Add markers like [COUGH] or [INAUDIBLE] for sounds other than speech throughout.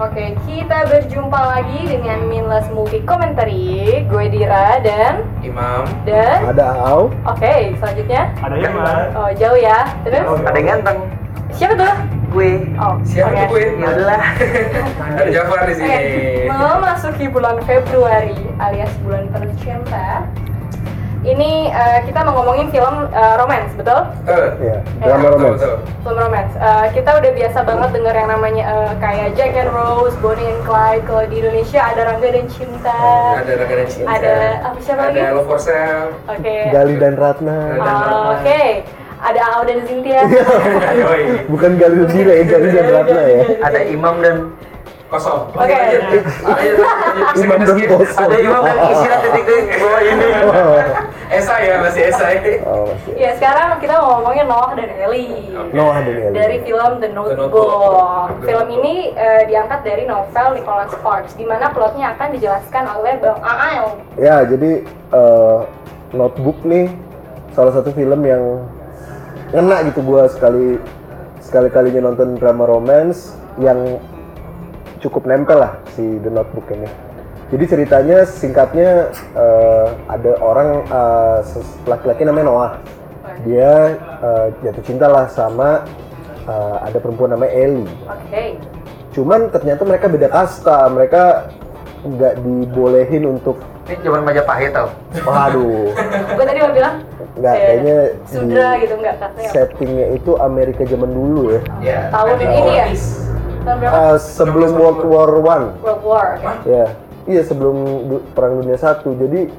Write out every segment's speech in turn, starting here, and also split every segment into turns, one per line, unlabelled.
Oke, kita berjumpa lagi dengan Minless Movie Commentary. Gue Dira dan
Imam.
dan
Ada Au,
Oke, selanjutnya.
Ada yang mana?
Oh, jauh ya. Terus
Ada yang ganteng.
siapa tuh?
Gue.
Oh,
Siapa
oke.
tuh gue?
Ya udahlah.
[LAUGHS] Ada Jafar di sini.
Oke, memasuki bulan Februari alias bulan penuh cinta. Ini eh, kita mau ngomongin film eh, romance, betul?
Betul.
ya,
Betul,
drama
Iya.
romance.
Betul.
Film romance. Eh, kita udah biasa banget denger yang namanya eh, kayak Jack and Rose, Bonnie and Clyde. Kalau di Indonesia ada Rangga dan Cinta.
Ada Raga dan Cinta.
Ada, apa siapa
Ada
lagi?
Love for Sale. [LAUGHS]
Oke.
Gali dan Ratna.
Ada.
Oh, Oke, ada Ao dan Cynthia.
Iya.
Yoi.
Bukan Gali dan Dira ya, Gali dan Ratna ya.
Ada Imam dan
Kosong.
Oke.
Lanjut, lanjut. Lanjut, lanjut. Skip,
Imam dan
skip.
kosong.
ada Imam dan
[LAUGHS]
istirahat titik titik bawah ini.
Oh,
Esai ya masih esai.
oh, masih.
ya sekarang kita mau ngomongin Noah dan Ellie.
Oke.
Noah dan Eli.
Dari film The Notebook.
Notebook.
Film ini eh, diangkat dari novel Nicholas Sparks, di mana plotnya akan dijelaskan oleh Bang Aal.
Ya, jadi eh, Notebook nih salah satu film yang ngena gitu gua sekali sekali kalinya nonton drama romance yang cukup nempel lah si The Notebook ini. Jadi ceritanya singkatnya eh, ada orang eh, ses- laki-laki namanya Noah. Dia eh, jatuh cinta lah sama eh, ada perempuan namanya Ellie
Oke.
cuman ternyata mereka beda kasta mereka nggak dibolehin untuk
Ini zaman Majapahit tau.
waduh
Gue tadi mau bilang
Nggak,
eh,
kayaknya
Sudra
di-
gitu enggak katanya.
settingnya itu Amerika zaman dulu ya
Ya.
Tahun
ada
ini ya?
Otis.
Tahun berapa?
Eh, sebelum World War One
World War. oke.
ya iya sebelum du- perang dunia satu jadi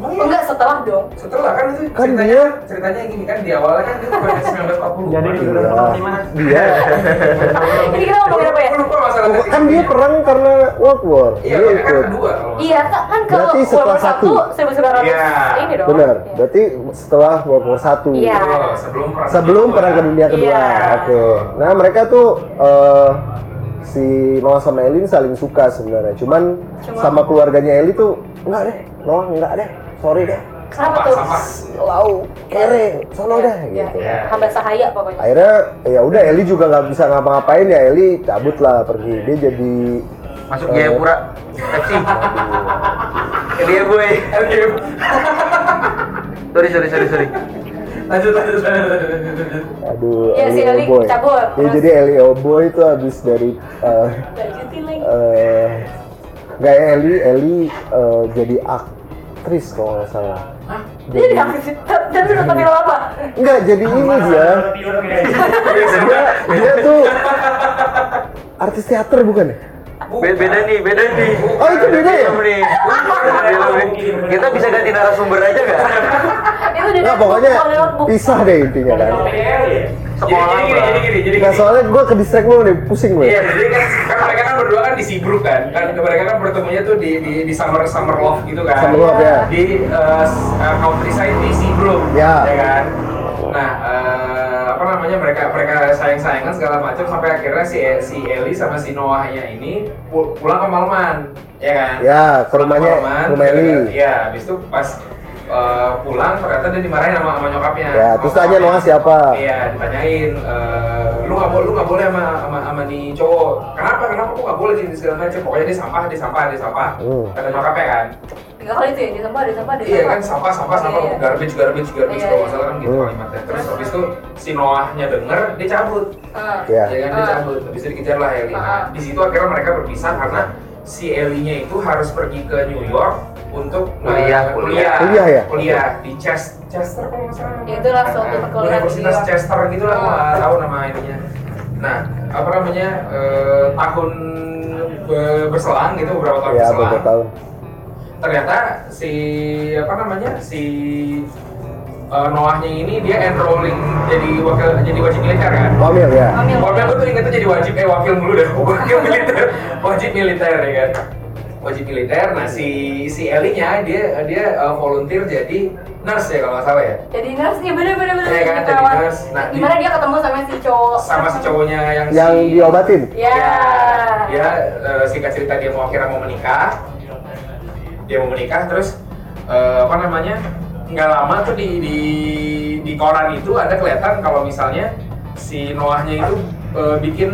Emang iya?
Enggak Oh, setelah dong.
Setelah kan itu
Kan
ceritanya,
dia-
ceritanya gini kan di awalnya kan itu pada 1940.
Jadi
Waduh,
udah pulang di mana?
iya. dia
Ini kita ngomongin apa ya?
Aku lupa masalahnya.
kan dia perang karena World War
Iya,
dia
kan
ikut
kedua kalau nggak
Iya, kan kan kalau
Berarti
World War
setelah satu.
1900
Iya.
ini dong.
benar
Iya.
berarti setelah World War satu
Iya.
salah. Oh, sebelum perang.
sebelum perang ke dunia kedua.
Iya.
Oke. Nah mereka tuh eh, si Noah sama Elin saling suka sebenarnya. Cuman
Cuma-
sama keluarganya Eli tuh enggak deh, Noah enggak deh, sorry
Iya.
deh,
Kenapa
Sampah,
tuh?
sampah.
lau kere, sono deh gitu.
Ya, hamba sahaya pokoknya.
Akhirnya ya udah Eli juga nggak bisa ngapa-ngapain ya Eli cabut lah pergi. Dia jadi
Masuk
eh,
Jayapura.
[LAUGHS]
Pepsi. Dia gue.
Oke.
Sorry sorry sorry sorry.
Lanjut, lanjut, lanjut, lanjut, lanjut.
Aduh,
Iya, si Eli
Oboy.
cabut.
Ya,
Terus-
jadi Eli Oboy itu habis dari eh,
Lanjutin lagi.
eh nggak Eli Eli eh, jadi aktris kalau nggak salah
Dia di
Eh,
dan itu nonton film apa?
nggak jadi ini dia
Iya.
dia dia tuh artis teater bukan ya
Be- beda nih beda nih.
oh itu beda ya
Film nih. Film nih. Kita bisa ganti narasumber aja gak?
Itu dari
Nah,
nggak pokoknya
buku, notebook.
pisah deh intinya kan
Jadi
Sekolah
gini, jadi gini, jadi
nggak
gini.
soalnya gue ke distract mulu nih pusing gue
Iya, jadi kan, kan mereka kan berdua kan di Sibruk kan, kan mereka kan bertemunya tuh di di, di summer summer love gitu kan.
Summer love, ya.
Di eh, s- eh, countryside di Sibruk.
Ya.
kan. Nah, eh, apa namanya mereka mereka sayang sayangan segala macam sampai akhirnya si E, si Eli sama si Noahnya ini pu- pulang ke Malman, ya kan?
Ya, ke
Pulang
rumahnya-
Malman,
rumah Eli.
Iya, habis itu pas eh, pulang ternyata dia dimarahin sama, sama nyokapnya.
Ya, terus
Sama
tanya
mamanya.
Noah siapa?
Iya, ditanyain eh, lu nggak boleh lu nggak boleh sama sama sama nih cowok. Kenapa? Kenapa kok nggak boleh jadi segala macam? Pokoknya dia sampah, dia sampah, dia sampah.
Hmm.
Kata nyokapnya kan.
Tiga kali itu ya, di tempat, di tempat, di
Iya
tempat.
kan sampah, sampah, sampah,
Iya.
garbage, garbage, garbage
Iya,
kalau
iya.
nggak salah kan gitu
Hmm.
kalimatnya. Terus habis itu si Noahnya denger, dia cabut.
Ah.
Iya.
Ya kan dia
Ah.
cabut, habis itu dikejar lah Eli.
Ah.
Nah, di situ akhirnya mereka berpisah karena si Eli-nya itu harus pergi ke New York untuk eh,
Kuliah,
kuliah,
kuliah.
Kuliah ya?
kuliah di Ches- Chester kalau nggak salah.
Ya, Itulah suatu
Eh,
perkuliahan
Universitas
New York.
Chester gitu lah,
Ah.
gua nggak tahu nama ininya. Nah, apa namanya eh, tahun be- berselang gitu beberapa tahun
ya
berselang
beberapa tahun
ternyata si apa namanya si eh, Noahnya ini dia enrolling jadi wakil jadi wajib militer kan.
Pamil ya
Ambil.
Korban gue tuh ingetnya jadi wajib eh wakil dulu deh wakil militer [LAUGHS] wajib militer ya kan wajib militer. Nah si si Eli nya dia dia eh, volunteer jadi nurse ya kalau nggak salah ya
Jadi nurse, iya bener bener bener.
Iya kan, jadi
Perawat.
nurse. Nah, di-
Dimana dia ketemu sama si cowok.
sama si cowoknya yang
yang
si,
diobatin
Ya.
dia eh, singkat cerita dia mau akhirnya mau menikah. Dia mau menikah terus eh, apa namanya? nggak lama tuh di, di di koran itu ada kelihatan kalau misalnya si Noahnya itu eh, bikin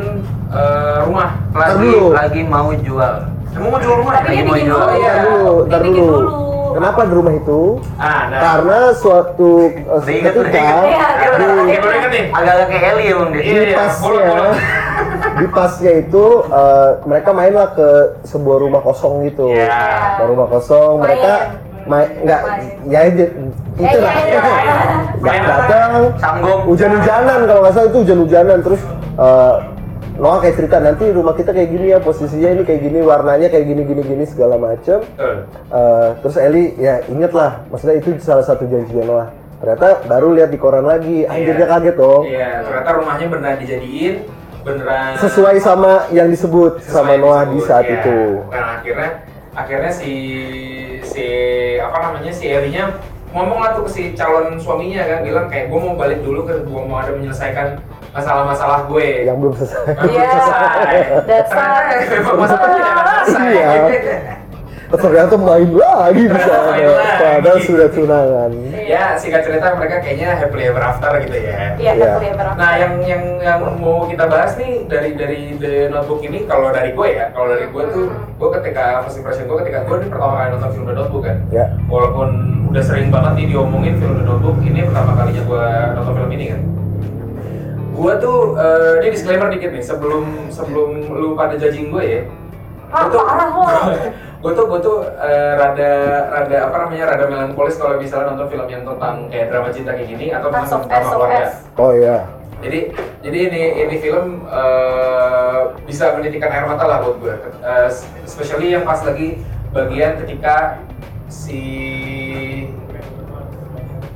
eh, rumah.
lagi
dulu.
lagi mau jual
Emang mau jual rumah?
Tapi dia
Lagi mau
bikin dulu
jual.
ya.
Ntar dulu, ntar
Dia bikin
dulu. Kenapa di rumah itu?
Ah, nah.
Karena suatu eh,
Diingat,
ketika
diingat.
Iya,
Ya,
dia
bener,
bikin
oke, boleh inget nih.
agak-agak kayak Eli emang dia
Iya,
di
iya. Boleh,
pasnya
boleh.
[LAUGHS] di pasnya itu eh, mereka mainlah ke sebuah rumah kosong gitu.
Iya.
Nah, rumah kosong mereka main nggak ya itu itu
Eh,
lah.
iya, iya.
[LAUGHS] Nggak datang.
sanggom
hujan-hujanan kalau nggak salah itu hujan-hujanan terus eh, Noah kayak cerita nanti rumah kita kayak gini ya posisinya ini kayak gini warnanya kayak gini gini gini segala macem
Betul.
Eh, terus Eli ya inget lah maksudnya itu salah satu janjinya Noah ternyata baru lihat di koran lagi anjirnya
Iya.
kaget dong
Iya, ternyata rumahnya beneran dijadiin, beneran
sesuai sama yang disebut
sesuai
sama Noah di
disebut,
saat
iya.
itu
Nah, akhirnya akhirnya si si apa namanya si Elinya ngomong lah tuh ke si calon suaminya kan bilang kayak gue mau balik dulu ke gue mau ada menyelesaikan masalah-masalah gue.
yang belum selesai
Nah, belum
Iya.
[LAUGHS] selesai.
That's
Ternyata
right.
memang masalahnya ya. nggak selesai.
Iya. ternyata main lagi di
Ternyata
sana
main lagi.
padahal sudah tunangan
ya singkat cerita mereka kayaknya happily ever after gitu ya.
Iya,
Iya.
happily ever after.
Nah, yang yang yang mau kita bahas nih dari dari The Notebook ini kalau dari gue ya, kalau dari gue tuh
Hmm.
gue ketika first impression gue ketika gue ini pertama kali nonton film The Notebook kan.
Ya.
Walaupun udah sering banget nih diomongin film The Notebook, ini pertama kalinya gue nonton film ini kan. Gue tuh eh, ini disclaimer dikit nih sebelum sebelum lu pada judging gue ya.
Ah, parah lo.
[LAUGHS] gue tuh gue tuh eh, rada rada apa namanya rada melankolis kalau misalnya nonton film yang tentang kayak drama cinta kayak gini atau tentang
Masuk
drama keluarga.
SOS.
oh iya
Jadi jadi ini ini film eh, bisa menitikan air mata lah buat gue. Eh, especially yang pas lagi bagian ketika si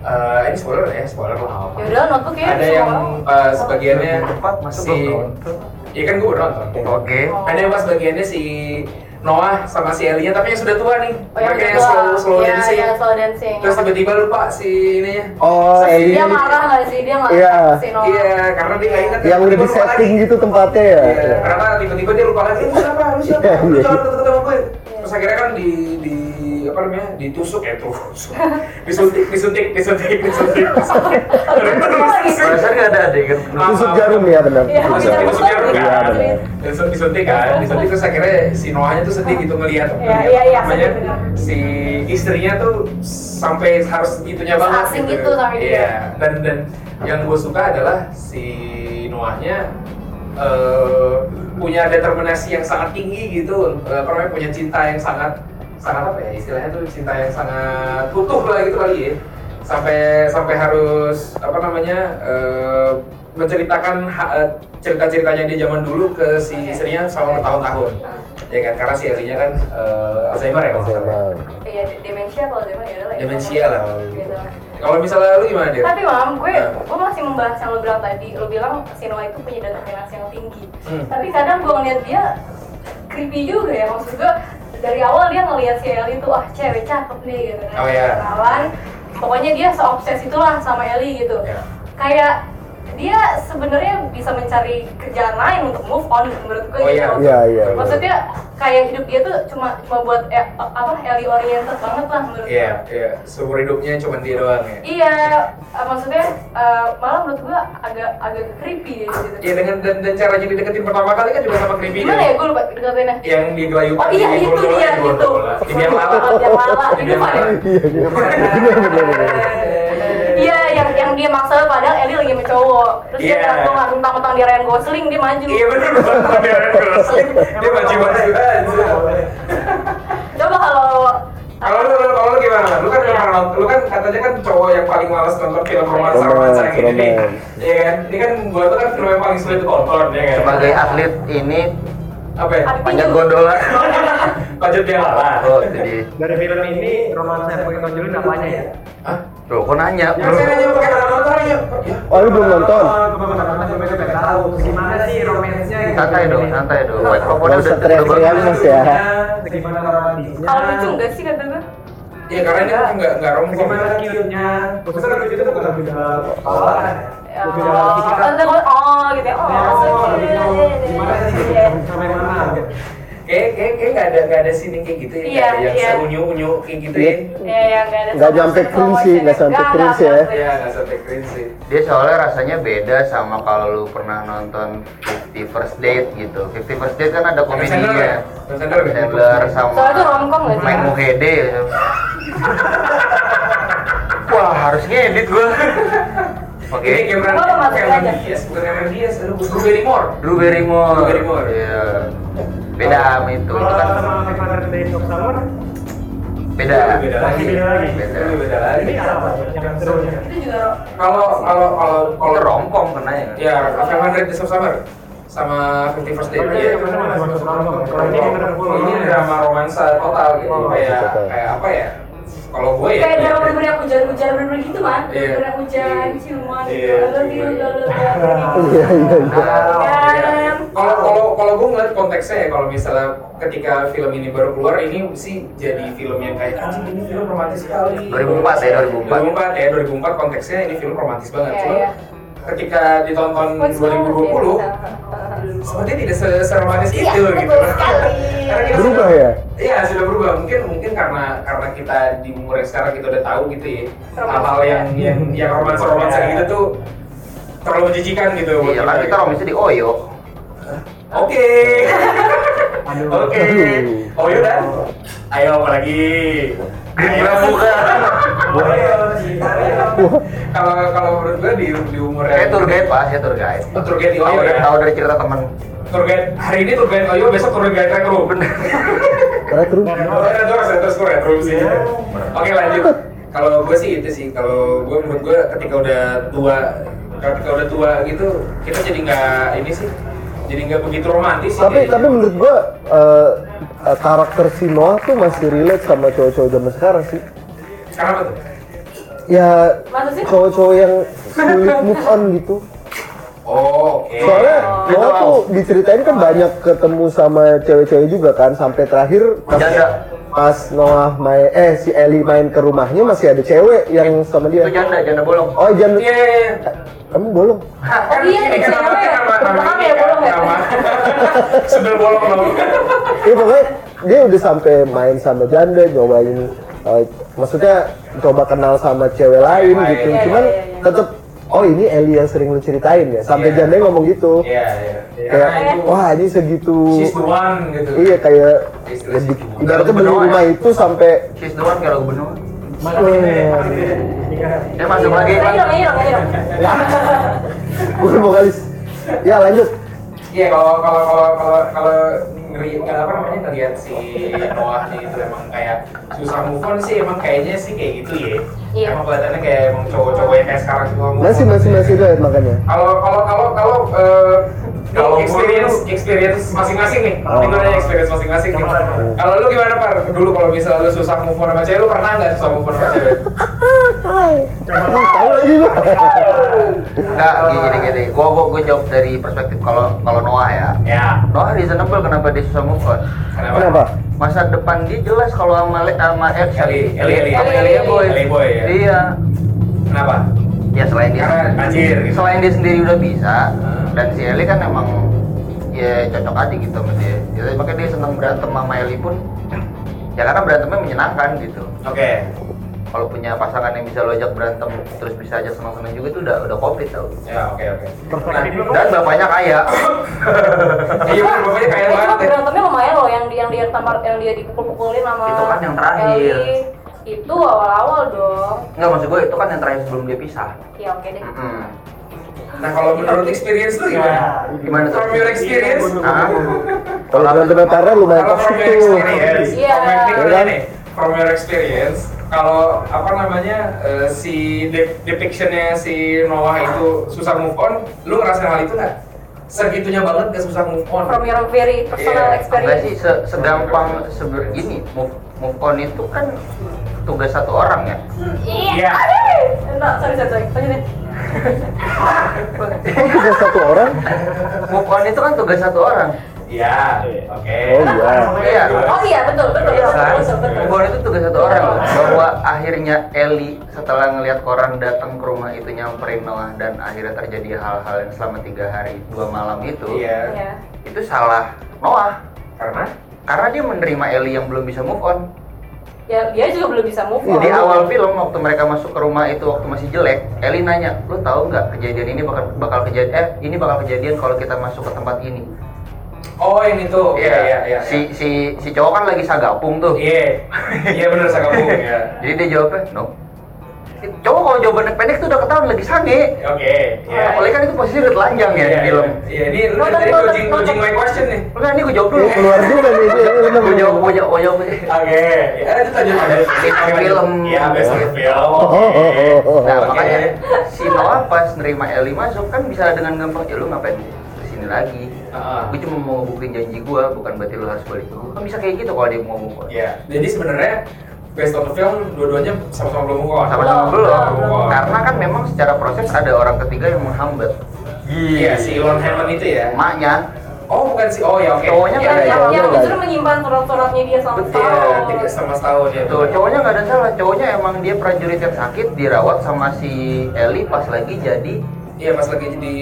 eh, ini spoiler ya spoiler lah. apa.
Yaudah, notebook ya.
Ada yang eh, sebagiannya
Iya, Cepat, masuk
si
belum nonton.
Iya kan gue udah nonton.
oke
Ada yang
Oh.
pas bagiannya si Noah sama si Elia tapi yang sudah tua nih.
Oh, yang
Mereka yang
kedua.
slow slow
Iya,
dancing.
yang slow dancing.
Terus tiba-tiba lupa si ininya.
oh Eli
Dia marah nggak sih? Dia marah
Iya.
si Noah.
Iya, karena dia nggak ingat.
yang udah di
Tiba-tiba lupa
setting
lagi.
gitu tempatnya ya.
Iya, karena tiba-tiba dia lupa lagi, "Eh, lu siapa? Lu siapa? Lu
Iya.
jangan deket-deket sama gue." Terus akhirnya kan di di apa namanya? ditusuk ya tuh. Disuntik, disuntik, disuntik, disuntik. disuntik. Ternyata
Oh,
terus disuntik.
Perasaan nggak ada kan? adegan penuh.
Maaf,
Tusuk
maaf.
jarum ya benar.
Iya,
Tusuk
maksudnya
Disuntik,
jarum.
Iya,
disuntik, disuntik,
Iya
kan?
benar.
Disut- disuntik kan, disuntik terus akhirnya si Noahnya tuh sedih gitu ngelihat
Iya, iya, iya,
namanya
sedih benar.
si istrinya tuh sampai harus gitunya banget
Asing gitu sampai dia.
Iya, dan dan yang gue suka adalah si Noahnya eh, punya determinasi yang sangat tinggi gitu, eh, apa namanya punya cinta yang sangat sangat apa ya istilahnya tuh cinta yang sangat utuh lah gitu kali ya sampai sampai harus apa namanya eh, menceritakan ha- eh, cerita-ceritanya dia zaman dulu ke si istrinya selama bertahun-tahun ya kan karena si Elinya kan eh, Alzheimer ya kalau nggak salah.
Memang.
Iya, demensia kalau dia mah ya lah.
Demensia lah.
Gitu.
kalau misalnya lu gimana dia
Tapi mam, gue
Eh.
gue masih membahas yang lo bilang tadi. Lo bilang si Noah itu punya determinasi yang tinggi.
Hmm.
Tapi kadang gue ngeliat dia creepy juga ya. Maksud gue dari awal dia ngeliat si Ellie itu wah cewek cakep nih gitu kan.
Oh, iya.
Kenalan. Pokoknya dia seobses itulah sama Ellie gitu.
Iya.
Kayak dia sebenarnya bisa mencari kerjaan lain untuk move on menurut gue
Oh,
gitu.
iya.
Iya, iya.
Maksudnya kayak hidup dia tuh cuma cuma buat eh, apa Ellie oriented banget lah menurut gue.
Iya, iya. Seumur hidupnya cuma dia doang ya.
Iya, eh, maksudnya eh, malah menurut gua agak agak creepy ya gitu.
Iya dengan dan, dan caranya dideketin pertama kali kan juga sama creepy
Gimana ya
ya.
gua lupa dikatinnya?
Yang di Gelayu
Oh iya itu dia Iya, itu.
Di dia malah.
Yang lala itu Pak.
Iya, iya. Benar, benar, benar.
Iya, yang yang dia maksa padahal Eli lagi sama cowok. Terus
Iya.
dia ngaku ngaku tentang di Ryan Gosling dia maju.
Iya benar benar benar. Dia maju maju
Iya.
aja.
Coba kalau
Kalau lu kalau lu gimana? Lu kan memang nonton- lu kan katanya kan cowok yang paling malas nonton film romansa romansa yang ini nih.
Romance.
Iya kan? Ini kan gua tuh kan film yang paling sulit ditonton ya kan.
sebagai atlet ini
apa ya?
Tapi
panjat
juga-
gondola
Lanjut dia lah.
oh jadi
Dari film ini romansa yang paling nonjolin apanya ya?
Hah?
Loh, kok nanya
Yang
Iya.
saya nanya pakai cara nonton ya.
Oh, lu belum nonton?
Tahu gimana sih romansnya?
santai dong santai dong
Iya.
Iya, mikrofonnya
Nggak
udah
usah teriak-teriak
udah-
mas ya.
Gimana romantisnya?
kalau lucu enggak sih kata gua?
Iya karena ini kan nggak nggak romcom.
Gimana cute-nya? Maksudnya lucu itu bukan lebih dalam kepala kan?
Ya,
Lebih dalam
Oh,
pikiran.
maksudnya gua, oh gitu ya. Oh, so
Oh,
cute.
lebih dalam- gimana sih?
Iya.
Sampai mana? gitu.
Kayak kayak kayak nggak ada nggak ada scene yang kayak gitu ya,
Iya,
nggak ada yang
iya.
seunyu unyu kayak gitu
Iya.
ya.
Ya, yang nggak ada
Nggak
sama
sampai
sekali
cringe sih, nggak sampai
promotion.
cringe
Nggak,
ya.
nggak,
Iya
nggak.
nggak sampai keren sih.
Dia soalnya rasanya beda sama kalau lu pernah nonton 50 First Date gitu. 50 First Date kan ada komedinya.
Adam Sandler. ya? Adam Sandler.
Sandler sama
Soalnya itu romcom nggak sih?
Mike Mohede. gitu. Wah, harus ngedit gua. Oke.
Ini Cameron
Apa lo masuk
Cameron
aja?
Diaz, bukan Cameron Diaz, aduh, Drew Barrymore.
Drew Barrymore.
Drew Barrymore.
Iya. Beda sama itu.
Kalau
Itu kan
sama Mike Day of Summer,
beda.
Itu Beda lagi.
masih beda lagi. Nah,
Beda.
Itu Beda lagi.
Ini apa? Yang ya? serunya.
Itu juga ro-
Kalau kalau kalau
Kalau
kalau
romcom kena ya.
ya Cameron Diaz of Summer sama 50 First Date.
Tapi
Iya.
yang pertama masih masuk malam, Bang. Kalau ini benar-benar full.
Ini drama romansa total gitu
Oh,
kayak
total.
kayak apa ya? Kalau gue ya
kayak drama bener-bener yang hujan-hujan bener-bener gitu man
Iya.
bener-bener hujan ciuman gitu
Iya,
lalu di
ciuman.
lalu lalu
Iya iya iya.
Kan?
Kalau kalau kalau gue ngeliat konteksnya ya kalau misalnya ketika film ini baru keluar ini sih jadi film yang kayak anjing ini film romantis sekali.
2004 ya, 2004.
2004 ya 2004 konteksnya ini film romantis banget.
Iya,
Cuma
iya.
ketika ditonton
What's wrong with it?
2020 sepertinya tidak se- seromantis
Iya,
itu gitu.
betul sekali.
[LAUGHS] Karena kita
Berubah
sudah-
ya?
Iya sudah berubah mungkin mungkin karena karena kita di umur yang sekarang kita udah tahu gitu ya
Romansa.
hal-hal yang
ya.
yang yang romansa romansa
Iya.
gitu tuh terlalu menjijikan gitu. buat
Iya, kan kita romisnya di Oyo.
Oke.
Aduh.
Oke.
Aduh.
Oh yaudah. Ayo apalagi.
Green Pramuka.
[LAUGHS]
Boleh ya, sih.
Kalau kalau menurut gue di, di umur
Saya
yang
tour guide, Pak. Saya tour guide.
Oh, tour guide di
Tahu
Oyo
dari-
ya?
iya, Tahu dari cerita teman.
Tour guide hari ini tour guide Oyo besok tour guide Retro. Oh, iya, Bener.
Rekrut.
Retro saya terus ke Retro ya, sih. Oke lanjut. Kalau gue sih itu sih kalau gue menurut gue ketika udah tua ketika udah tua gitu kita jadi nggak ini sih jadi nggak begitu romantis sih.
Tapi
kayaknya.
tapi menurut gua eh, eh, karakter si Noah tuh masih relate sama cowok-cowok zaman sekarang sih.
Karena apa tuh?
Ya
Masa sih?
cowok-cowok yang sulit move on gitu.
Oh, oke.
Soalnya
Itu
Noah
wow.
tuh diceritain kan banyak ketemu sama cewek-cewek juga kan sampai terakhir pas,
Janda.
pas Noah main eh si Ellie main ke rumahnya masih ada cewek yang sama
Itu
dia.
janda, janda bolong.
Oh janda.
Iya, iya, iya.
Kamu belum.
Hah, kan
Oh iya,
ini kan
cewek.
nama- nama- nama
Belakang
ini
ya,
kan,
bolong ya?
nama. Sebel bolong dong.
Iya pokoknya dia udah sampai main sama janda, nyobain eh, maksudnya coba kenal sama cewek lain
Lain,
gitu.
iya,
Cuman
iya, iya.
tetep oh ini Eli yang sering lu ceritain ya. Sampai
Iya.
janda ngomong gitu.
Iya, iya. Ya,
Kayak
itu.
wah ini segitu
She's the one gitu.
Iya kayak
Istilah
lebih
sih.
ibaratnya beli
Benoa
rumah
ya?
itu sampai
She's the one kalau gubernur.
Masuk ini, masuk ini.
Dia masuk lagi.
Nyanyi dong, nyanyi dong, nyanyi dong.
gue vokalis. Ya lanjut.
Iya, kalau kalau kalau kalau kalau ngeri nggak apa namanya ngelihat si Noah nih itu emang kayak susah move on sih emang kayaknya sih kayak gitu ya.
Iya.
Emang kelihatannya kayak emang cowok-cowok yang kayak sekarang semua move
Masih
on.
masih masih itu makanya.
Kalau kalau kalau kalau eh,
Kalau gua-
experience experience masing-masing nih.
Oh.
Ini gua nanya experience masing-masing. nih.
Gimana?
Kalau lu gimana par? Dulu kalau misalnya lu susah move on sama cewek, lu pernah nggak susah move on sama
[LAUGHS]
cewek?
Ih, Oh, Tahu lagi lu.
Enggak, gini gini gini. Gua gua gua jawab dari perspektif kalau kalau Noah ya.
Ya.
Noah reasonable kenapa dia susah move on.
Kenapa?
Kenapa?
Masa depan dia jelas kalau sama Le- sama Ed
Eli- Eli- Eli-
sama
Eli-
Elia Boy.
Eli Boy, ya.
Iya.
Kenapa?
Ya selain dia
Karena anjir gitu. Hmm.
selain dia sendiri udah bisa dan si Eli kan emang ya cocok aja gitu sama dia. Jadi makanya dia seneng berantem sama Eli pun ya karena berantemnya menyenangkan gitu.
Oke.
Kalau punya pasangan yang bisa lo ajak berantem terus bisa ajak senang-senang juga itu udah udah komplit tau.
Ya, oke oke.
Perspektif lu
Nah, Dan bapaknya kaya.
Iya, bener, bapaknya kaya
Eh, cuma
banget. ya.
berantemnya lumayan loh yang dia yang dia tampar yang dia dipukul-pukulin sama
Itu kan yang terakhir.
Eli. itu awal-awal dong
Enggak maksud gue itu kan yang terakhir sebelum dia pisah.
ya oke deh
Hmm.
Mm-mm.
Nah, kalau menurut experience lu ya. gimana?
Gimana tuh?
From your experience?
Iya,
Ah.
Kalau berantem parah lumayan
Kalau
toxic
from your
tuh.
ya.
experience,
Iya.
from your- ini
Iya.
nih, from your experience, kalau apa namanya eh, si de- depictionnya si Noah itu susah move on, lu ngerasain hal itu nggak? Segitunya banget gak susah move on?
from your very personal
Iya.
Enggak sih,
experience
se- segampang seber ini move, move on itu kan tugas satu orang ya.
iya enggak sorry sorry sorry lanjutin
Kok juga satu orang?
Move on itu kan tugas satu orang.
Iya, oke.
Oh iya.
Iya.
oh iya betul betul
Iya
betul
kan?
betul betul
Move on itu tugas satu orang loh. Bahwa akhirnya Eli setelah ngelihat koran datang ke rumah itu nyamperin Noah dan akhirnya terjadi hal-hal yang selama tiga hari dua malam itu,
Iya.
Iya.
itu salah Noah.
Karena?
karena dia menerima Ellie yang belum bisa move on
ya dia juga belum bisa move on
di awal film waktu mereka masuk ke rumah itu waktu masih jelek Ellie nanya lu tahu nggak kejadian ini bakal bakal kejadian eh ini bakal kejadian kalau kita masuk ke tempat ini Ya,
Oh yang itu, iya iya iya.
si si si cowok kan lagi sagapung tuh
Iya, iya benar Sakabung ya.
jadi dia jawabnya no cowok kalau jawabannya pendek tuh udah ketahuan lagi sange
Oke, iya.
apalagi kan itu posisi udah telanjang ya di
Iya,
film Oh,
Iya, ini lu
Nonton,
jadi
nonton,
closing closing my question nih.
enggak ini gue jawab dulu
Ini keluar juga nih itu ya, bener.
gue jawab gue jawab Nah, gue jawab
Oke, ya itu lanjut lanjut.
Best film.
Iya, best film.
Oh, oh, oh, oh, oh.
nah
Oke.
makanya si Noah pas nerima Ellie masuk kan bisa dengan gampang ya lu ngapain kesini lagi
Heeh.
gue cuma mau bukin janji gue bukan berarti lu harus balik ke gue kan bisa kayak gitu kalau dia mau move on
Iya, jadi sebenarnya based on the film dua-duanya sama-sama belum move on.
sama-sama
Belum,
belum
belum.
karena kan memang secara proses ada orang ketiga yang menghambat
Iya, si Elon Hammond itu ya.
emaknya
Oh, bukan si Oh ya oke.
Cowoknya
Iya,
nggak oh. ada
iya.
yang,
Iya,
yang
iya.
justru menyimpan surat-suratnya dia sama
Betul,
Iya,
tiga
setahun
setengah setahun ya.
Tuh, cowoknya nggak ada salah, cowoknya emang dia prajurit yang sakit dirawat sama si Eli pas lagi jadi
Iya, pas lagi di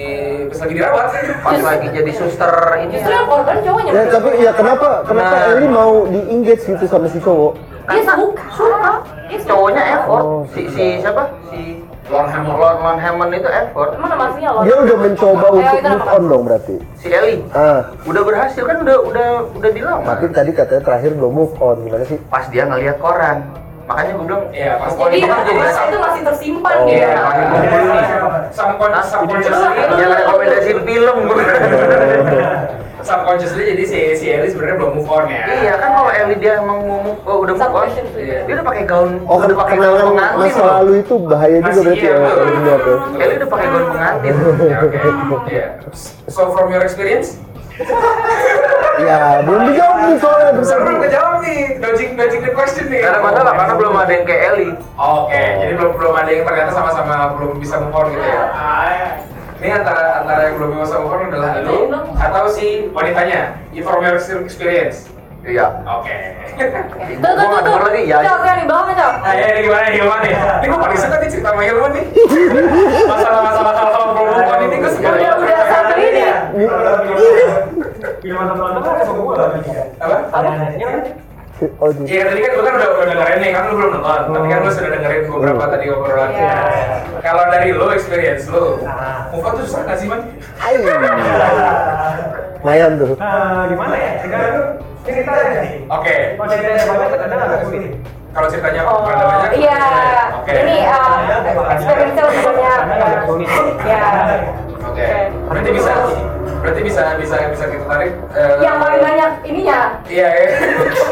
pas lagi dirawat.
pas lagi jadi suster ini
justru yang korban cowoknya
Ya tapi ya kenapa kenapa
Nah.
Eli mau di engage gitu sama si cowok?
dia suka suka dia suka.
cowoknya effort
Oh,
si, si siapa si
Elon Hammond.
Lon Lon Hammond itu effort
emang nama aslinya loh
Dia udah mencoba
Ayo,
untuk
kita
move
makan.
on dong berarti.
si Eli
Ah,
udah berhasil kan udah udah udah dilamar
tapi tadi katanya terakhir belum move on gimana sih?
pas dia ngelihat koran makanya gue bilang
Iya, pas
jadi
Pokoknya
masa
dia berasa.
itu masih tersimpan
Oh.
dia
Iya.
Subconscious, subconsciously,
jangan rekomendasiin film
Iya.
gua. [LAUGHS]
subconsciously jadi si si Ellie sebenarnya belum move on ya.
iya kan kalau Eli dia emang mau move- oh, udah move on
Subconscious.
dia udah pakai gaun
Oh,
udah pakai gaun
kenangan
pengantin
masa
loh.
lalu itu bahaya juga
Masih
berarti
iya,
ya.
Bang.
benar ya.
Eli udah pakai gaun pengantin
Ya, oke. Iya. So from your experience,
Ya, belum dijawab nih soalnya belum
seru belum kejawab nih, dodging dodging the question nih.
karena masalah karena belum
Oh.
ada yang kayak Eli
Oke, jadi belum belum ada yang ternyata sama-sama belum bisa move on gitu ya. Ini antara antara yang belum bisa move on adalah lu atau si wanitanya. You from your experience.
iya
Oke.
tuh tuh tuh tuh
Gua lagi, ya.
cok cok nih bawahnya cok
Nah, ya, ini gimana nih, gimana nih? Ini gue paling suka nih cerita sama Hilman nih. Masalah-masalah hal-hal
Iya,
perempuan ini kan gue suka.
udah udah satu ini
Film teman-teman kan semua lagi kan.
Apa?
Pertanyaannya kan,
Oh, di-
Iya, tadi kan gue kan udah, udah dengerin nih, kan lu belum nonton. Tapi kan
Hmm.
lu sudah dengerin beberapa tadi obrolan.
Iya. Ah.
Kalau dari lu, experience lu,
Nah.
move on tuh susah nggak sih, Man?
Hai. Lumayan tuh.
Iya, nah, gimana ya? Sekarang tuh cerita aja nih.
Oke.
Kalau ceritanya banyak kadang agak sulit.
Kalau ceritanya
Oh,
ada banyak.
iya.
Oke.
Ini uh, experience-nya lebih banyak.
Karena agak sulit.
Ya.
Oke. Berarti bisa berarti bisa bisa bisa kita tarik eh,
Yang paling banyak ininya,
Iya,
[LAUGHS]
iya.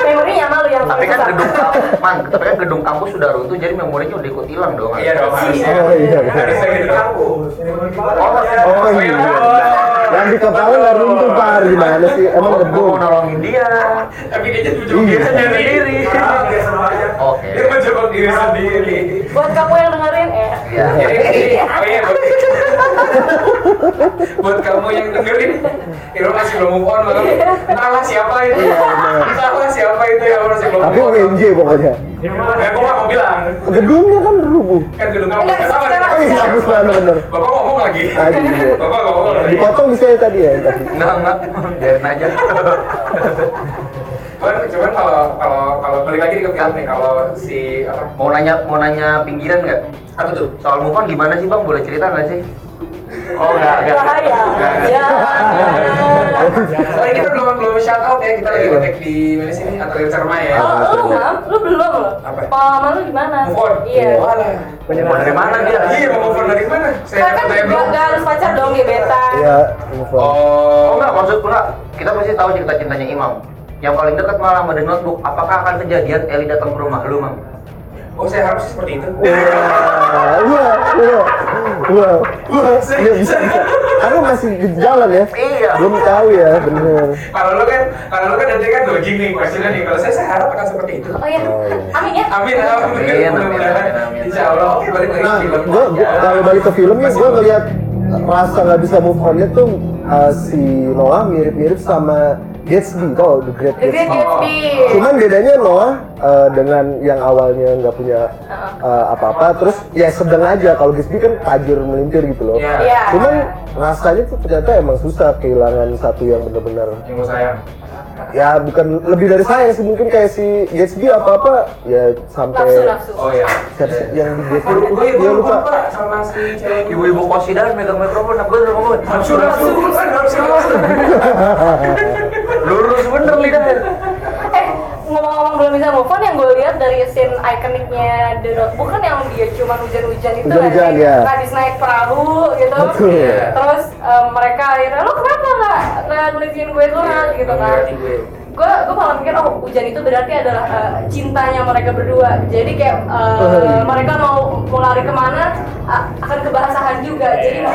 memorinya malu yang paling
tapi kan
susah.
gedung man tapi kan gedung kampus sudah runtuh jadi memorinya udah ikut hilang dong
Iya dong, harusnya.
Oh, iya.
Harusnya gitu.
Kampus.
Oh, iya. Yang di kepala nggak runtuh par gimana sih? Emang
Gua- gua
gedung.
mau nolongin dia
Tapi dia jadi ujung diri
Iya.
sendiri.
Iya.
oke
Dia mencoba diri sendiri.
Buat kamu yang dengerin, eh.
iya
Jadi, oh iya, buat, buat kamu yang dengerin, Iro masih belum move on, makanya entahlah siapa itu,
Iya, benar.
entahlah siapa itu yang masih belum
Tapi
move on.
WNJ pokoknya.
Eh, gua nggak mau bilang,
Gedungnya kan rubuh.
kan gedung kamu
Enggak,
sama
secara-
Eh,
nih.
bagus banget bener.
Bapak ngomong lagi.
Aduh, iya.
Bapak ngomong lagi.
Dipotong bisa ya tadi ya. tadi.
enggak enggak biarin aja
Cuman, cuman kalau kalau kalau balik lagi ke film nih, kalau si apa?
mau nanya mau nanya pinggiran nggak
Apa tuh?
soal move on gimana sih bang boleh cerita nggak sih oh enggak enggak
Bahaya.
Enggak, enggak.
Ya.
Soalnya kita belum belum shout out ya, kita
Iya.
lagi ngetek di mana sih nih? Atelier Cermai ya.
Kalau Oh, lu, Mam, lu belum loh.
Apa? Oh,
Pengalaman lu gimana?
Oh,
Move on.
Iya.
Walah.
Move on dari mana dia
Iya, mau move on dari mana?
Kan
Saya ya,
kan
saya
nggak
belum.
nggak harus pacar dong ya, gebetan.
Iya, move on.
oh
Oh,
enggak maksud gua kita pasti tahu cerita cintanya imam yang paling dekat malah sama The Notebook apakah akan kejadian Eli datang ke rumah lu mang
oh saya harus seperti itu.
Wah, wah, wah, wah, wah, Iya, bisa, bisa. Aku masih di jalan ya.
Iya.
Belum tahu ya, bener.
Kalau lu kan, kalau lu kan nanti kan dodging nih questionnya nih. Kalau saya, saya harap akan seperti itu.
Oh iya.
Oh, iya.
Amin ya.
Amin, amin,
Amin, amin,
mudah-mudahan.
amin.
Insya Allah, oke balik lagi
Nah,
ke film.
gua, gua- kalau balik ke filmnya,
Masih
gue
belum.
ngeliat rasa nggak bisa move on-nya tuh uh, si Noah mirip-mirip sama Gatsby, tau The Great
The Great
Gatsby.
Gatsby.
Cuman bedanya Noah uh, dengan yang awalnya nggak punya uh, apa-apa, terus ya sedang aja. Kalau Gatsby kan tajir melintir gitu loh.
Iya.
Iya.
Cuman rasanya tuh ternyata emang susah kehilangan satu yang bener-bener
Yang gua sayang.
ya bukan lebih dari sayang sih mungkin kayak si Gatsby apa apa ya
nafsu
sampai
nafsu
Oh ya.
siapa sih yang di Gatsby
Ibu ibu
dia lupa
lupa sama si cewek
Ibu-ibu kosidan megang mikrofon, aku udah ngomong
Nafsu
nafsu
nafsu
nafsu.
bukan nafsu nafsu.
Lurus bener
Iya.
lidahnya.
eh ngomong-ngomong belum bisa move on yang gue lihat dari scene ikoniknya The Notebook kan yang dia cuma hujan-hujan itu
Hujan-hujan,
kan,
ya.
habis naik perahu gitu
Betul.
Iya.
terus em, mereka akhirnya lo kenapa nggak nggak nulisin gue curhat
Iya,
gitu kan
Berarti gue.
gue gue malah mikir oh hujan itu berarti adalah eh, cintanya mereka berdua jadi kayak eh,
Oh.
mereka mau mau lari kemana a- akan kebasahan juga jadi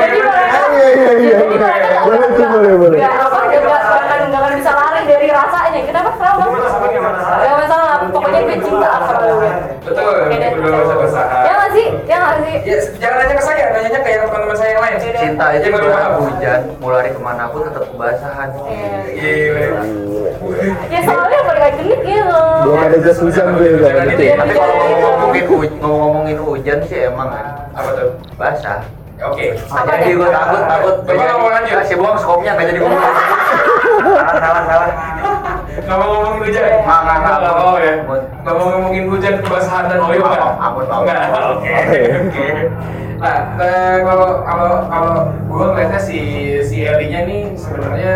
jadi mereka
Ah, iya iya iya
jadi mereka nggak-
boleh tuh boleh boleh
nggak apa nggak nggak akan nggak akan bisa lari dari rasanya kenapa kenapa
Itu masalahnya nggak masalah.
Nggak masalah pokoknya gue cinta sama lu
Betul.
Oke deh.
Berdua masa bersahan.
ya nggak sih ya nggak sih
Ya, jangan nanya ke saya, nanyanya ke yang teman-teman saya yang lain.
Cinta itu
Yang lebih
ibarat
paham.
hujan, mau lari kemana pun tetap kebasahan.
Iya.
Gile.
Iya.
ya soalnya mereka genit gitu
belum ada jas hujan gue nggak gitu ya
Tapi kalau ngomongin huj- ngomongin hujan sih emang kan.
Apa tuh?
basah.
Oke.
Apa deh?
Jadi gue takut, takut.
Coba ngomong lanjut.
Kasih bohong skopnya nggak jadi ngomong. Salah, salah, salah.
Ngomong-ngomongin hujan.
Nggak, nggak, nggak.
Nggak Iya. mau ya. Ngomong-ngomongin hujan kebasahan dan oyo
Apa?
kan.
Apa? Apa?
Nggak, Oke. Oke. Nah, eh, kalau kalau kalau gue ngeliatnya si si Elinya nih sebenarnya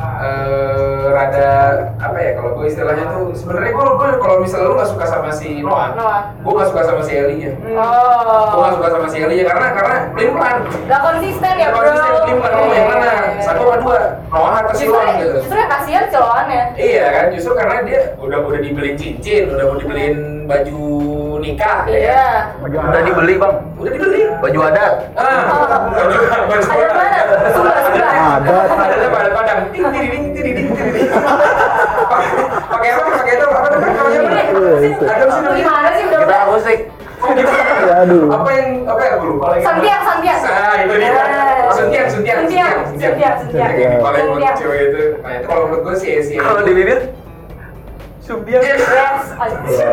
eh rada apa ya kalau gue istilahnya tuh sebenarnya gue gue kalau misalnya lu nggak suka sama si Noah,
Noah.
gue nggak suka sama si Elinya. Gue
oh
nggak suka sama si Elinya karena karena pelin pelan.
nggak konsisten ya
Ya,
bro
konsisten pelin pelan ngomong yang mana
Iya.
satu apa dua Noah atau si
justru
Noah gitu.
justru yang kasihan celoannya
Iya kan, justru karena dia udah udah dibeliin cincin, udah mau dibeliin baju nikah, ya
iya
kan?
Udah dibeli bang,
Udah dibeli.
baju adat.
Ah, baju baju
ada mana sudah sudah
ada
Adanya pada padang. Ting ting ting ting ting ting, ting. Pakai apa? Pakai itu apa namanya? Namanya apa? Ada mesin namanya.
gimana sih udah
Kita musik.
ya aduh
Apa yang apa yang lupa lagi?
Santiang, Santiang.
Nah, itu dia.
Eh.
Suntiang, suntiang,
Suntiang, suntiang, suntiang.
Yang paling
Suntiang.
cewek itu. Nah, itu kalau menurut gue sih sih. Iya,
Kalau di bibir, sumbiang.
yes
Ya.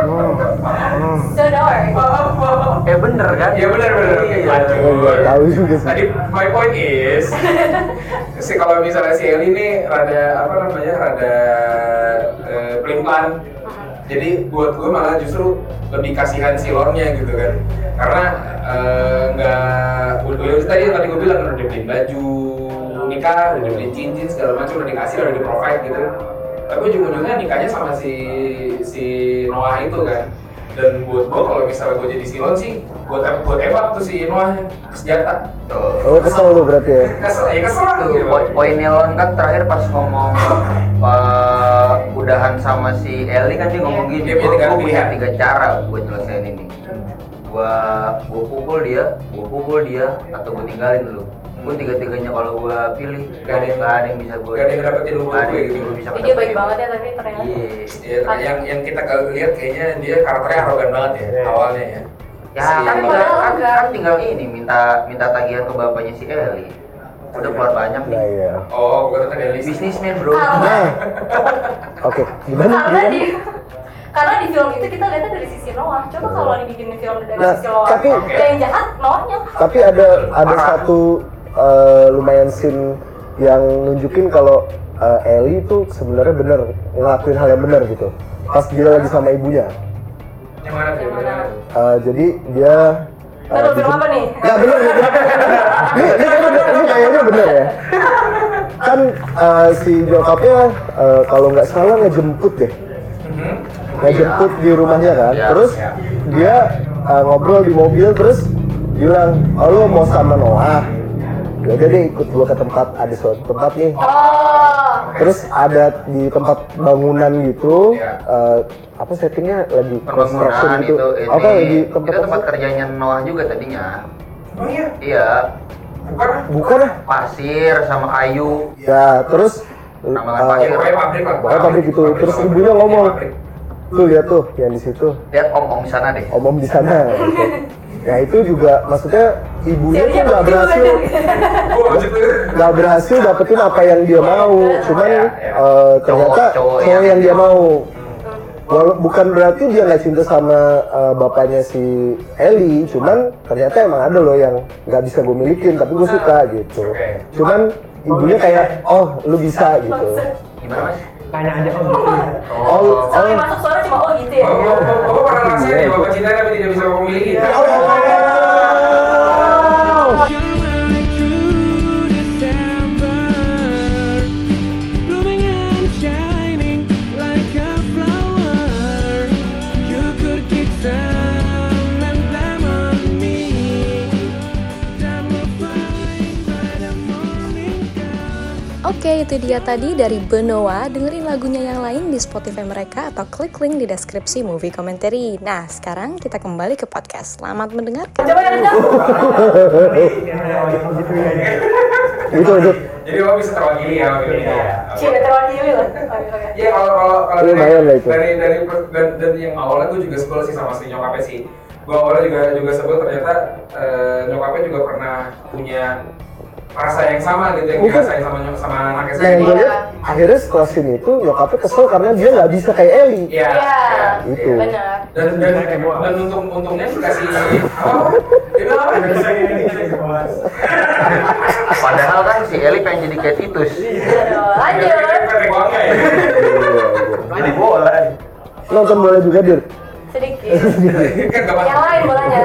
Hmm, hmm,
sudah
Eh bener kan?
Ya benar benar.
Iya.
Lanjut.
hmm. tahu juga sih
Tadi my point is si kalau misalnya si Eli ini rada apa namanya rada eh, pelan. Jadi buat gue malah justru lebih kasihan si Lornya gitu kan. Karena eh, nggak udah tadi yang tadi gue bilang udah dibeliin baju nikah, udah dibeliin cincin segala macam udah dikasih udah di provide gitu. Tapi ujung-ujungnya nikahnya sama si si Noah itu kan. Dan buat gue kalau misalnya gue jadi Silon sih, buat buat Eva tuh si Noahnya kesejata.
oh
Tuh.
kesel lu berarti ya
Kesel, ya kesel lah
Tuh,
gitu.
po- poinnya Lon kan terakhir pas ngomong eh, udahan sama si Eli kan
Iya.
dia ngomong gini,
Dia punya
gue
tiga
punya
pilihan."
tiga cara buat nyelesain ini. Gua gua pukul dia, gua pukul dia, atau gua tinggalin dulu. Gua tiga-tiganya kalau gua pilih,
Gak ada yang-
gak ada yang bisa gua.
gak Hmm. ada yang dapetin lu
Gak ada
gue
yang
gitu.
gua bisa
dia baik
dapetin.
banget ya tapi ternyata
Iya.
Ya, yang yang kita kalau lihat kayaknya dia karakternya arogan banget ya
Iya.
awalnya ya.
Ya
Si-
kan,
padahal
tinggal- kan,
enggak.
kan tinggal ini minta minta tagihan ke bapaknya si Eli. Udah keluar banyak
nah
nih.
iya
Oh, gue ternyata dari list.
Bisnismen bro.
Karena-
nah oke gimana
karena
gimana
di karena di film itu kita lihatnya dari sisi Noah coba kalau dibikin film dari
Nah,
sisi Noah
tapi-
yang jahat Noahnya
tapi ada ada satu eh, lumayan scene yang nunjukin kalau eh, Ellie tuh sebenarnya bener ngelakuin hal yang bener gitu pas dia lagi sama ibunya
Yang mana tuh?
Yang mana?
Eh, jadi dia eh,
Aduh, film
bikin-
apa nih?
Nggak bener, nggak bener. Ini, ini kayaknya bener, ini kayaknya bener ya. Kan eh, si nyokapnya eh, kalau nggak salah ngejemput deh,
Mhm.
ngejemput di rumahnya kan.
Iya.
Terus dia eh, ngobrol di mobil terus bilang, oh, lo mau sama Noah? Ya udah deh ikut gua ke tempat ada suatu tempat nih.
oh
Terus ada di tempat bangunan gitu,
Ya.
Iya.
eh, apa settingnya lagi construction
Perbangunan
gitu.
itu, ini,
Oke, di tempat,
itu tempat
apa sih?
kerjanya Noah juga tadinya.
Oh iya,
Iya,
bukan ah.
Bukan ah.
pasir sama kayu.
Ya, terus
Ramalan
eh,
pasir.
Ya, pokoknya pabrik lah.
Pokoknya pabrik gitu. Terus ibunya ngomong.
Pabrik.
tuh lihat tuh yang di situ,
Lihat om om sana deh.
omom di sana. gitu. Ya itu juga maksudnya ibunya tuh
Serius,
nggak
betul,
berhasil
betul.
Gua lanjut dulu.
nggak berhasil dapetin apa yang dia mau, cuman
Ya, ya.
eh, ternyata
Cowok- cowok
cowok
yang-
yang dia mau. Walau bukan berarti dia nggak cinta sama eh, bapaknya si Eli, cuman ternyata emang ada loh yang nggak bisa gue milikin tapi gue suka gitu.
Oke.
Cuman ibunya kayak oh lu bisa gitu
Gimana mas?
Tanya aja oh gitu ya.
Oh,
Oh,
Sampai masuk suara cuma oh gitu ya.
Bapak, bapak, bapak pernah
Iya,
ngerasain ya, bapak cinta tapi tidak bisa bapak miliki.
Oke, itu dia tadi dari Benoa. Dengerin lagunya yang lain di Spotify mereka atau klik link di deskripsi movie commentary. Nah, sekarang kita kembali ke podcast. Selamat mendengarkan.
Coba yang rendah.
Oh, gitu ya.
gitu gitu
Jadi bapak bisa terwakili ya. bapak
Iya.
ini ya.
Cie, terwakili loh. Oke, oke.
Iya kalau kalau kalau
Lumayan lah
dari
itu.
dari dari per- dan, dan yang awalnya gue juga sebel sih sama si nyokapnya sih. Gue awalnya juga juga sebel ternyata eh, nyokapnya juga pernah punya rasa yang sama gitu yang
Mungkin-
dirasain sama nyok sama anaknya
nah yang
sendiri.
gue lihat akhirnya setelah scene itu nyokapnya kesel karena dia nggak bisa kayak Ellie
Iya.
Iya.
iya.
Itu.
Benar.
Dan dan dan untung untungnya dikasih apa? Dia bilang apa?
Nggak bisa ini, nggak bisa bahas.
Padahal kan si Eli pengen jadi Kate Titus.
Iya dong.
Dia bilang,
Lanjut.
"Patrick Wangga ya?" iya.
Jadi bola.
nonton bola juga dir
Eh,
Sedikit.
Kan gak
Yang
apa-
lain bolanya.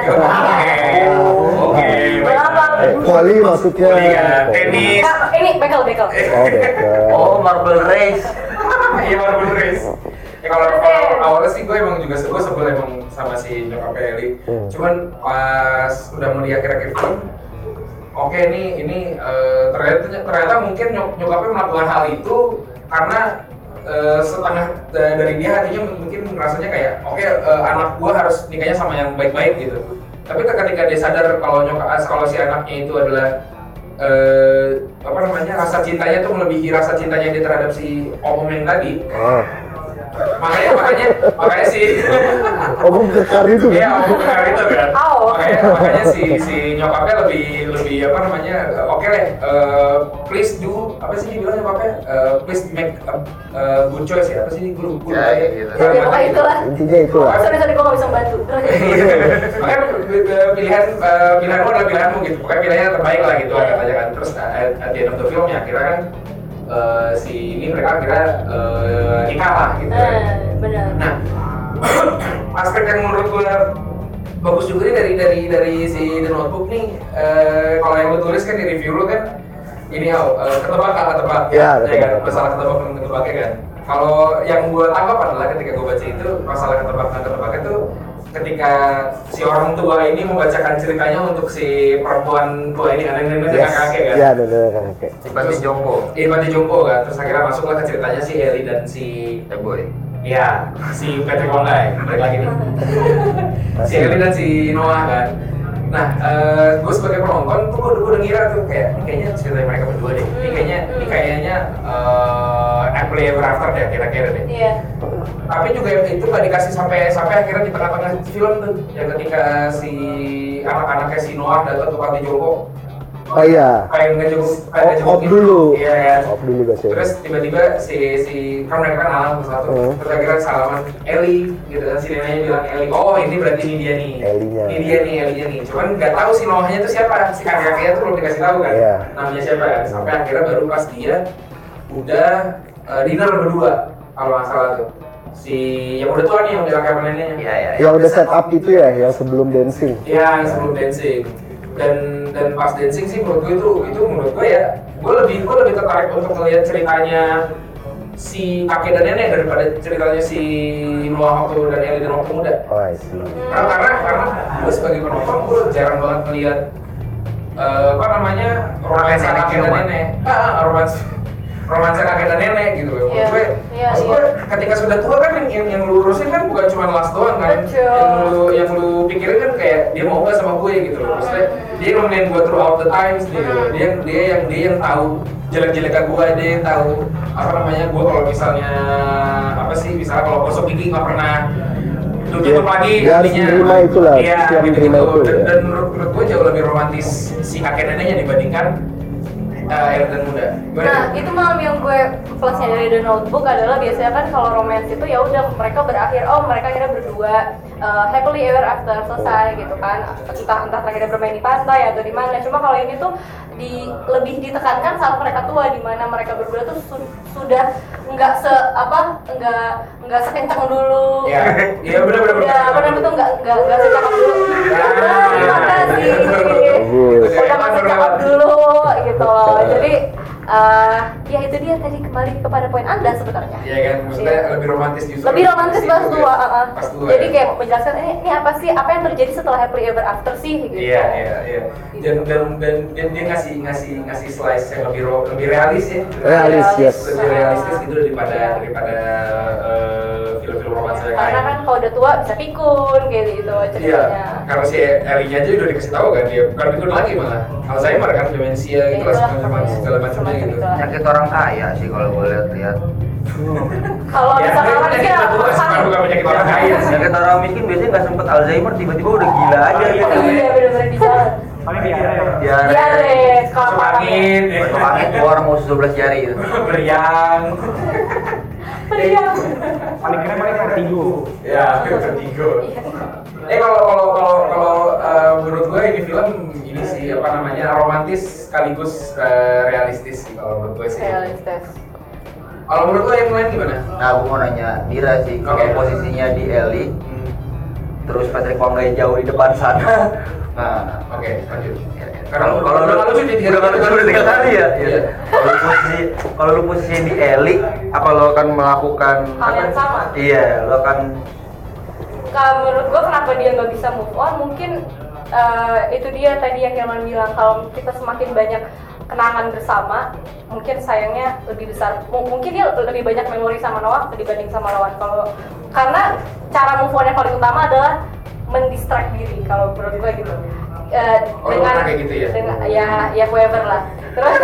Oke.
Bola apa?
eh, volley maksudnya
Liga ya. tenis.
Kak, Ah, ini bekel bekel.
oh beda
Oh, Marble Race.
Iya baru bener guys. Ya kalau kalau awalnya sih gue emang juga gue sebel emang sama si nyokap Eli.
Hmm.
Cuman pas udah mau di akhir-akhir film, oke ini ini eh, ternyata ternyata mungkin nyok, nyokapnya melakukan hal itu karena eh, setengah da- dari dia hatinya mungkin rasanya kayak oke eh, anak gue harus nikahnya sama yang baik-baik gitu. Tapi ketika dia sadar kalau nyokap kalau si anaknya itu adalah eh, apa namanya rasa cintanya tuh melebihi rasa cintanya dia terhadap si om yang tadi
ah.
makanya makanya makanya si
oh gue kekar itu
ya
kan
om Bukar itu kan
Au.
makanya makanya si si nyokapnya lebih lebih apa namanya eh, oke deh eh, please do apa sih dia bilang nyokapnya Eh, please make a, a good choice ya apa sih ini guru guru
Ya, ya, gitu.
Ya pokoknya itulah.
kan? intinya itu lah
Sorry sorry gue nggak bisa membantu.
Iya. makanya eh, pilihan eh, pilihanmu adalah pilihanmu gitu pokoknya pilihannya yang terbaik lah gitu ada aja kan terus eh, at the end of the film ya akhirnya kan eh, si ini mereka akhirnya eh, nikah lah gitu kan.
Nah, benar.
nah [COUGHS] aspek yang menurut gue bagus juga nih dari dari dari si The Notebook nih eh, kalau yang lu tulis kan di review lu kan ini ya ketebak nggak ketebak
Ya,
kan
ketebak.
masalah ketebak dan ketebaknya kan kalau yang gue tangkap adalah ketika gue baca itu masalah ketebak dan ketebak itu ketika si orang tua ini membacakan ceritanya untuk si perempuan tua ini kan nenek nenek
yes
kakek kan
ya benar kan oke
Pasti Jompo.
Iya, Panti Jompo kan. Terus akhirnya masuklah ke ceritanya si Eli dan si
Ya boy.
Ya, si Patrick Wangga ya, balik lagi nih. si Elvin dan si Noah kan. Nah, gue sebagai penonton tuh gue udah ngira tuh kayak ini kayaknya cerita mereka berdua deh. Ini kayaknya ini kayaknya eh Apple Ever After deh kira-kira deh.
Iya.
Tapi juga yang itu nggak dikasih sampai sampai akhirnya di tengah-tengah film tuh yang ketika si anak-anaknya si Noah datang ke Panti Jompo
oh iya
pengen ngejenguk pengen
Op- op
ngejengukin.
dulu.
Iya kan.
Op dulu, guys, ya.
Terus tiba-tiba si si kan mereka kan alam satu.
Hmm.
Terus akhirnya salaman Eli gitu kan si neneknya bilang Eli. Oh ini berarti ini dia nih.
Ellie-nya.
Ini dia nih Elinya nih. Cuman nggak tahu si Noahnya tuh siapa. Si kakaknya tuh belum dikasih tahu kan.
Iya.
Namanya siapa kan. Sampai akhirnya baru pas dia udah eh, dinner berdua kalau nggak salah tuh. Si yang udah tua nih yang bilang kayak neneknya.
Ya ya. ya.
yang udah set up itu ya yang sebelum dancing
Ya, yang sebelum dancing. Dan dan pas dancing sih menurut gue itu itu menurut gue ya, gue lebih gue lebih tertarik untuk melihat ceritanya si kakek dan nenek daripada ceritanya si Noah waktu dan Eli dan waktu muda.
oh I see
Karena karena, karena gue sebagai penonton gue jarang banget melihat eh, apa namanya romansa
Nenek-nenek
kakek dan
siluman.
nenek. Ah, romans romansa kakek dan nenek gitu. Menurut
Iya,
gue,
iya,
maksud gue ketika sudah tua kan yang, yang, yang lurusin kan bukan cuma las doang kan
Betul.
yang lu yang lu pikirin kan kayak dia mau nggak sama gue gitu loh
Iya.
maksudnya dia nemenin gue throughout the times gitu loh. dia dia yang dia yang tahu jelek-jeleknya gue dia yang tahu apa namanya gue kalau misalnya apa sih misalnya kalau gosok gigi nggak pernah tutup
Dia-
lagi
dia harus
artinya.
menerima itulah,
iya
dia
gitu
menerima itu,
dan,
ya.
dan menurut, menurut gue jauh lebih romantis si kakek neneknya dibandingkan eh, air dan muda. Gimana?
Nah, itu malam yang gue plusnya dari The Notebook adalah biasanya kan kalau romance itu ya udah mereka berakhir, oh mereka akhirnya berdua uh, happily ever after selesai gitu kan. Entah entah mereka bermain di pantai atau di mana. Cuma kalau ini tuh di lebih ditekankan saat mereka tua di mana mereka berdua tuh su- sudah nggak se apa nggak nggak sekencang dulu.
Ya, iya benar benar Ya.
Ya, apa namanya tuh nggak nggak nggak secakap dulu. Udah, terima kasih
Iya,
udah masuk cakep dulu gitu loh jadi eh, ya itu dia tadi kembali kepada poin anda sebenarnya
Iya kan, maksudnya
Iya.
lebih romantis justru.
lebih romantis
Pas
pas
itu
tua
ya.
eh, eh.
Pas tua.
jadi
ya.
kayak menjelaskan ini, ini apa sih apa yang terjadi setelah happily ever after sih gitu
Iya, iya, iya. Dan dan dan dan dia ngasih ngasih ngasih slice yang lebih ro- lebih realis ya.
Realis, yes.
Lebih realistis gitu daripada daripada eh, film-film romantis yang
karena
lain.
kan kalau udah tua bisa pikun kayak gitu
Iya,
ceritanya
karena si Ellie-nya aja udah dikasih tahu kan dia bukan pikun lagi malah Alzheimer kan demensia
Ya,
gitu lah
itulah,
segala macam-
pokoknya.
segala macamnya
Semacam
gitu.
Iya.
itulah.
Sakit orang kaya sih kalau gue lihat-lihat.
kalau
Ya,
bisa
kan
kawan
kita
sih
kita
[LAUGHS]
bukan suka bukan penyakit orang kaya sih.
Sakit orang miskin biasanya nggak sempet Alzheimer tiba-tiba udah gila aja gitu.
iya benar-benar di jalan Iya,
Paling biara ya.
Iya,
Diare.
diare sekolah
Masuk
parah.
angin, ya.
Masuk angin keluar mau 12 jari gitu.
beriang.
Periang.
Paling keren paling vertigo.
Ya, vertigo. Eh kalau kalau kalau kalau eh, menurut gue ini film ini sih apa namanya romantis sekaligus eh, realistis sih kalau menurut gue sih.
realistis
Kalau menurut lo yang lain gimana?
Nah, gue mau nanya Dira sih, kalau
Oke.
posisinya di Eli, terus Patrick Wanggai jauh di depan sana. Nah,
Oke, lanjut. Karena
kalau
lu-
kalau
udah
lu
nggak lucu di-
udah nggak lucu udah tiga kali ya.
Iya.
Iya. Kalau lu posisi kalau lu posisi di Eli, apa lo akan melakukan
Hal yang
apa?
sama?
Iya, lo akan
kalau menurut gua kenapa dia nggak bisa move on mungkin eh, itu dia tadi yang Hilman bilang kalau kita semakin banyak kenangan bersama mungkin sayangnya lebih besar M- mungkin dia lebih banyak memori sama Noah dibanding sama lawan kalau karena cara move on yang paling utama adalah mendistract diri kalau menurut gua gitu Eh,
Oh, lu pernah kayak gitu ya?
dengan ya ya whoever lah
[LAUGHS]
terus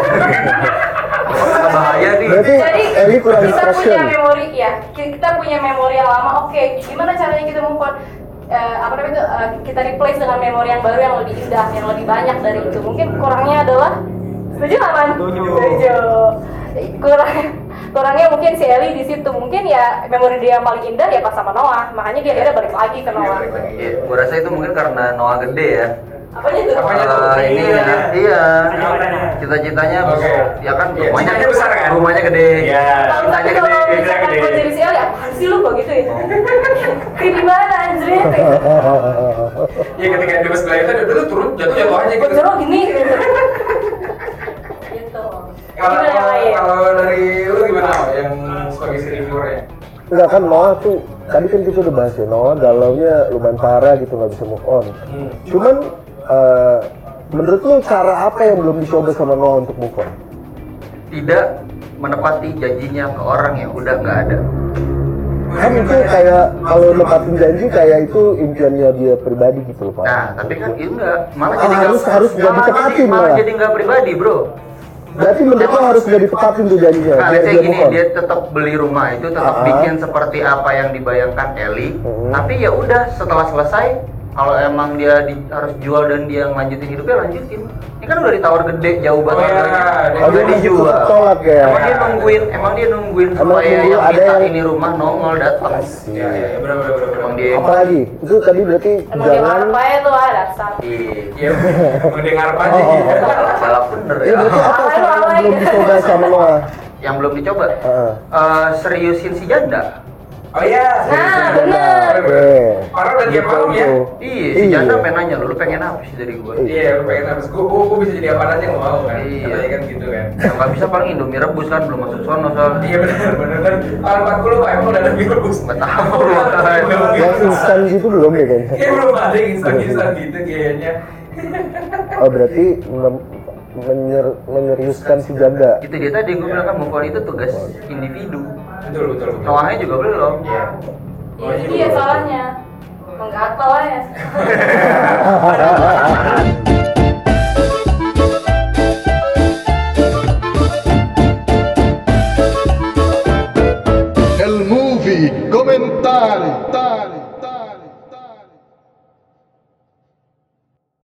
bahaya nih.
Berarti-
jadi
Eli kurang
kita
impression.
punya memori ya ki- kita punya memori yang lama oke gimana caranya kita move on Eh, apa namanya itu eh, kita replace dengan memori yang baru yang lebih indah yang lebih banyak dari itu mungkin kurangnya adalah setuju nggak man
Setuju.
kurang kurangnya mungkin si Eli di situ mungkin ya memori dia yang paling indah ya pas sama Noah makanya dia akhirnya balik lagi ke
Iya,
Noah
balik lagi.
Iya, gue rasa itu mungkin karena Noah gede ya.
apanya tuh
Apanya tuh?
Eh, ini
Iya.
ya, iya.
Cita-citanya.
Cita-citanya
Oke.
ya kan
Iya,
rumahnya
cita-citanya besar kan?
Rumahnya gede.
Iya.
Kalau tapi
Cita-citanya
kalau
gede.
misalkan gue jadi si Eli apaan sih lu kok gitu
Oh.
[LAUGHS] ya kayak gimana anjir
[LAUGHS]
Iya, ketika dia sebelah itu udah lu turun jatuh jatuh aja
gue
gitu.
suruh gini gitu gitu
Kalau
Gimana yang lain?
kalau dari lu gimana Al, yang sebagai ya? si reviewernya?
Enggak kan Noah tuh tadi kan kita udah bahas ya Noah galaunya lumayan parah gitu nggak bisa move on.
Hmm.
Cuman eh, menurut lu cara apa yang belum dicoba sama Noah untuk move on?
Tidak menepati janjinya ke orang yang udah nggak ada.
Kan itu kayak kalau nempatin janji kayak itu impiannya dia pribadi gitu loh Pak.
Nah, tapi
Iya.
kan itu enggak malah
Ah,
jadi nggak-
harus- harus nggak
malah
ditepatin
jadi- malah
malah.
jadi nggak pribadi, Bro.
Berarti menurut lu harus nggak ditepatin tuh janjinya biar
Nah, saya
Iya, dia
gini,
move on.
dia tetap beli rumah itu tetap
Ah.
bikin seperti apa yang dibayangkan Eli.
Hmm.
Tapi ya udah setelah selesai, kalau emang dia di- harus jual dan dia lanjutin hidupnya lanjutin. Ini kan udah ditawar gede jauh
Oh,
banget
iya.
harganya.
Oh,
Dia udah
dia
masih
dijual.
tetap tolak ya?
Emang dia nungguin, emang dia nungguin
Emang
supaya
nunggu
yang
ada
minta
yang-
ini rumah nongol datang.
Asik.
Iya, iya, benar benar benar.
Emang
benar.
dia
Apalagi itu tadi berarti
emang dia
jangan
ngarep aja tuh ah dasar
Iya.
Iya, mendengar apa aja.
Oh, oh,
gitu.
salah bener
Ya
ya.
berarti apa
Alay,
cara yang
alay.
belum dicoba sama Noah?
Yang belum dicoba.
Heeh.
Eh, seriusin si janda.
Oh iya.
nah bener
Oke.
Parah udah tiap malam ya.
Gitu.
Iya, si
Iya.
Janda pengen nanya lu, lu pengen apa sih dari gua?
Iya, lu pengen habis gua, gua, gua bisa jadi apa aja yang mau kan.
Iya.
Katanya kan gitu kan.
Yang nggak bisa paling Indomie rebus kan, belum masuk sono soalnya.
Iya benar benar kan. Tahun 40 Pak emang udah ada virus.
Nggak tahu makanya.
Belum.
Yang instan gitu belum ya kayaknya.
Kayak Iya, belum ada yang instan-instan gitu kayaknya.
Oh berarti mem- menyer- menyeriuskan si janda.
Itu dia tadi gua bilang kan move on itu tugas individu.
Betul betul betul.
Noahnya juga belum.
Iya.
Ya, itu dia salahnya menggatel aja
El movie, commentari.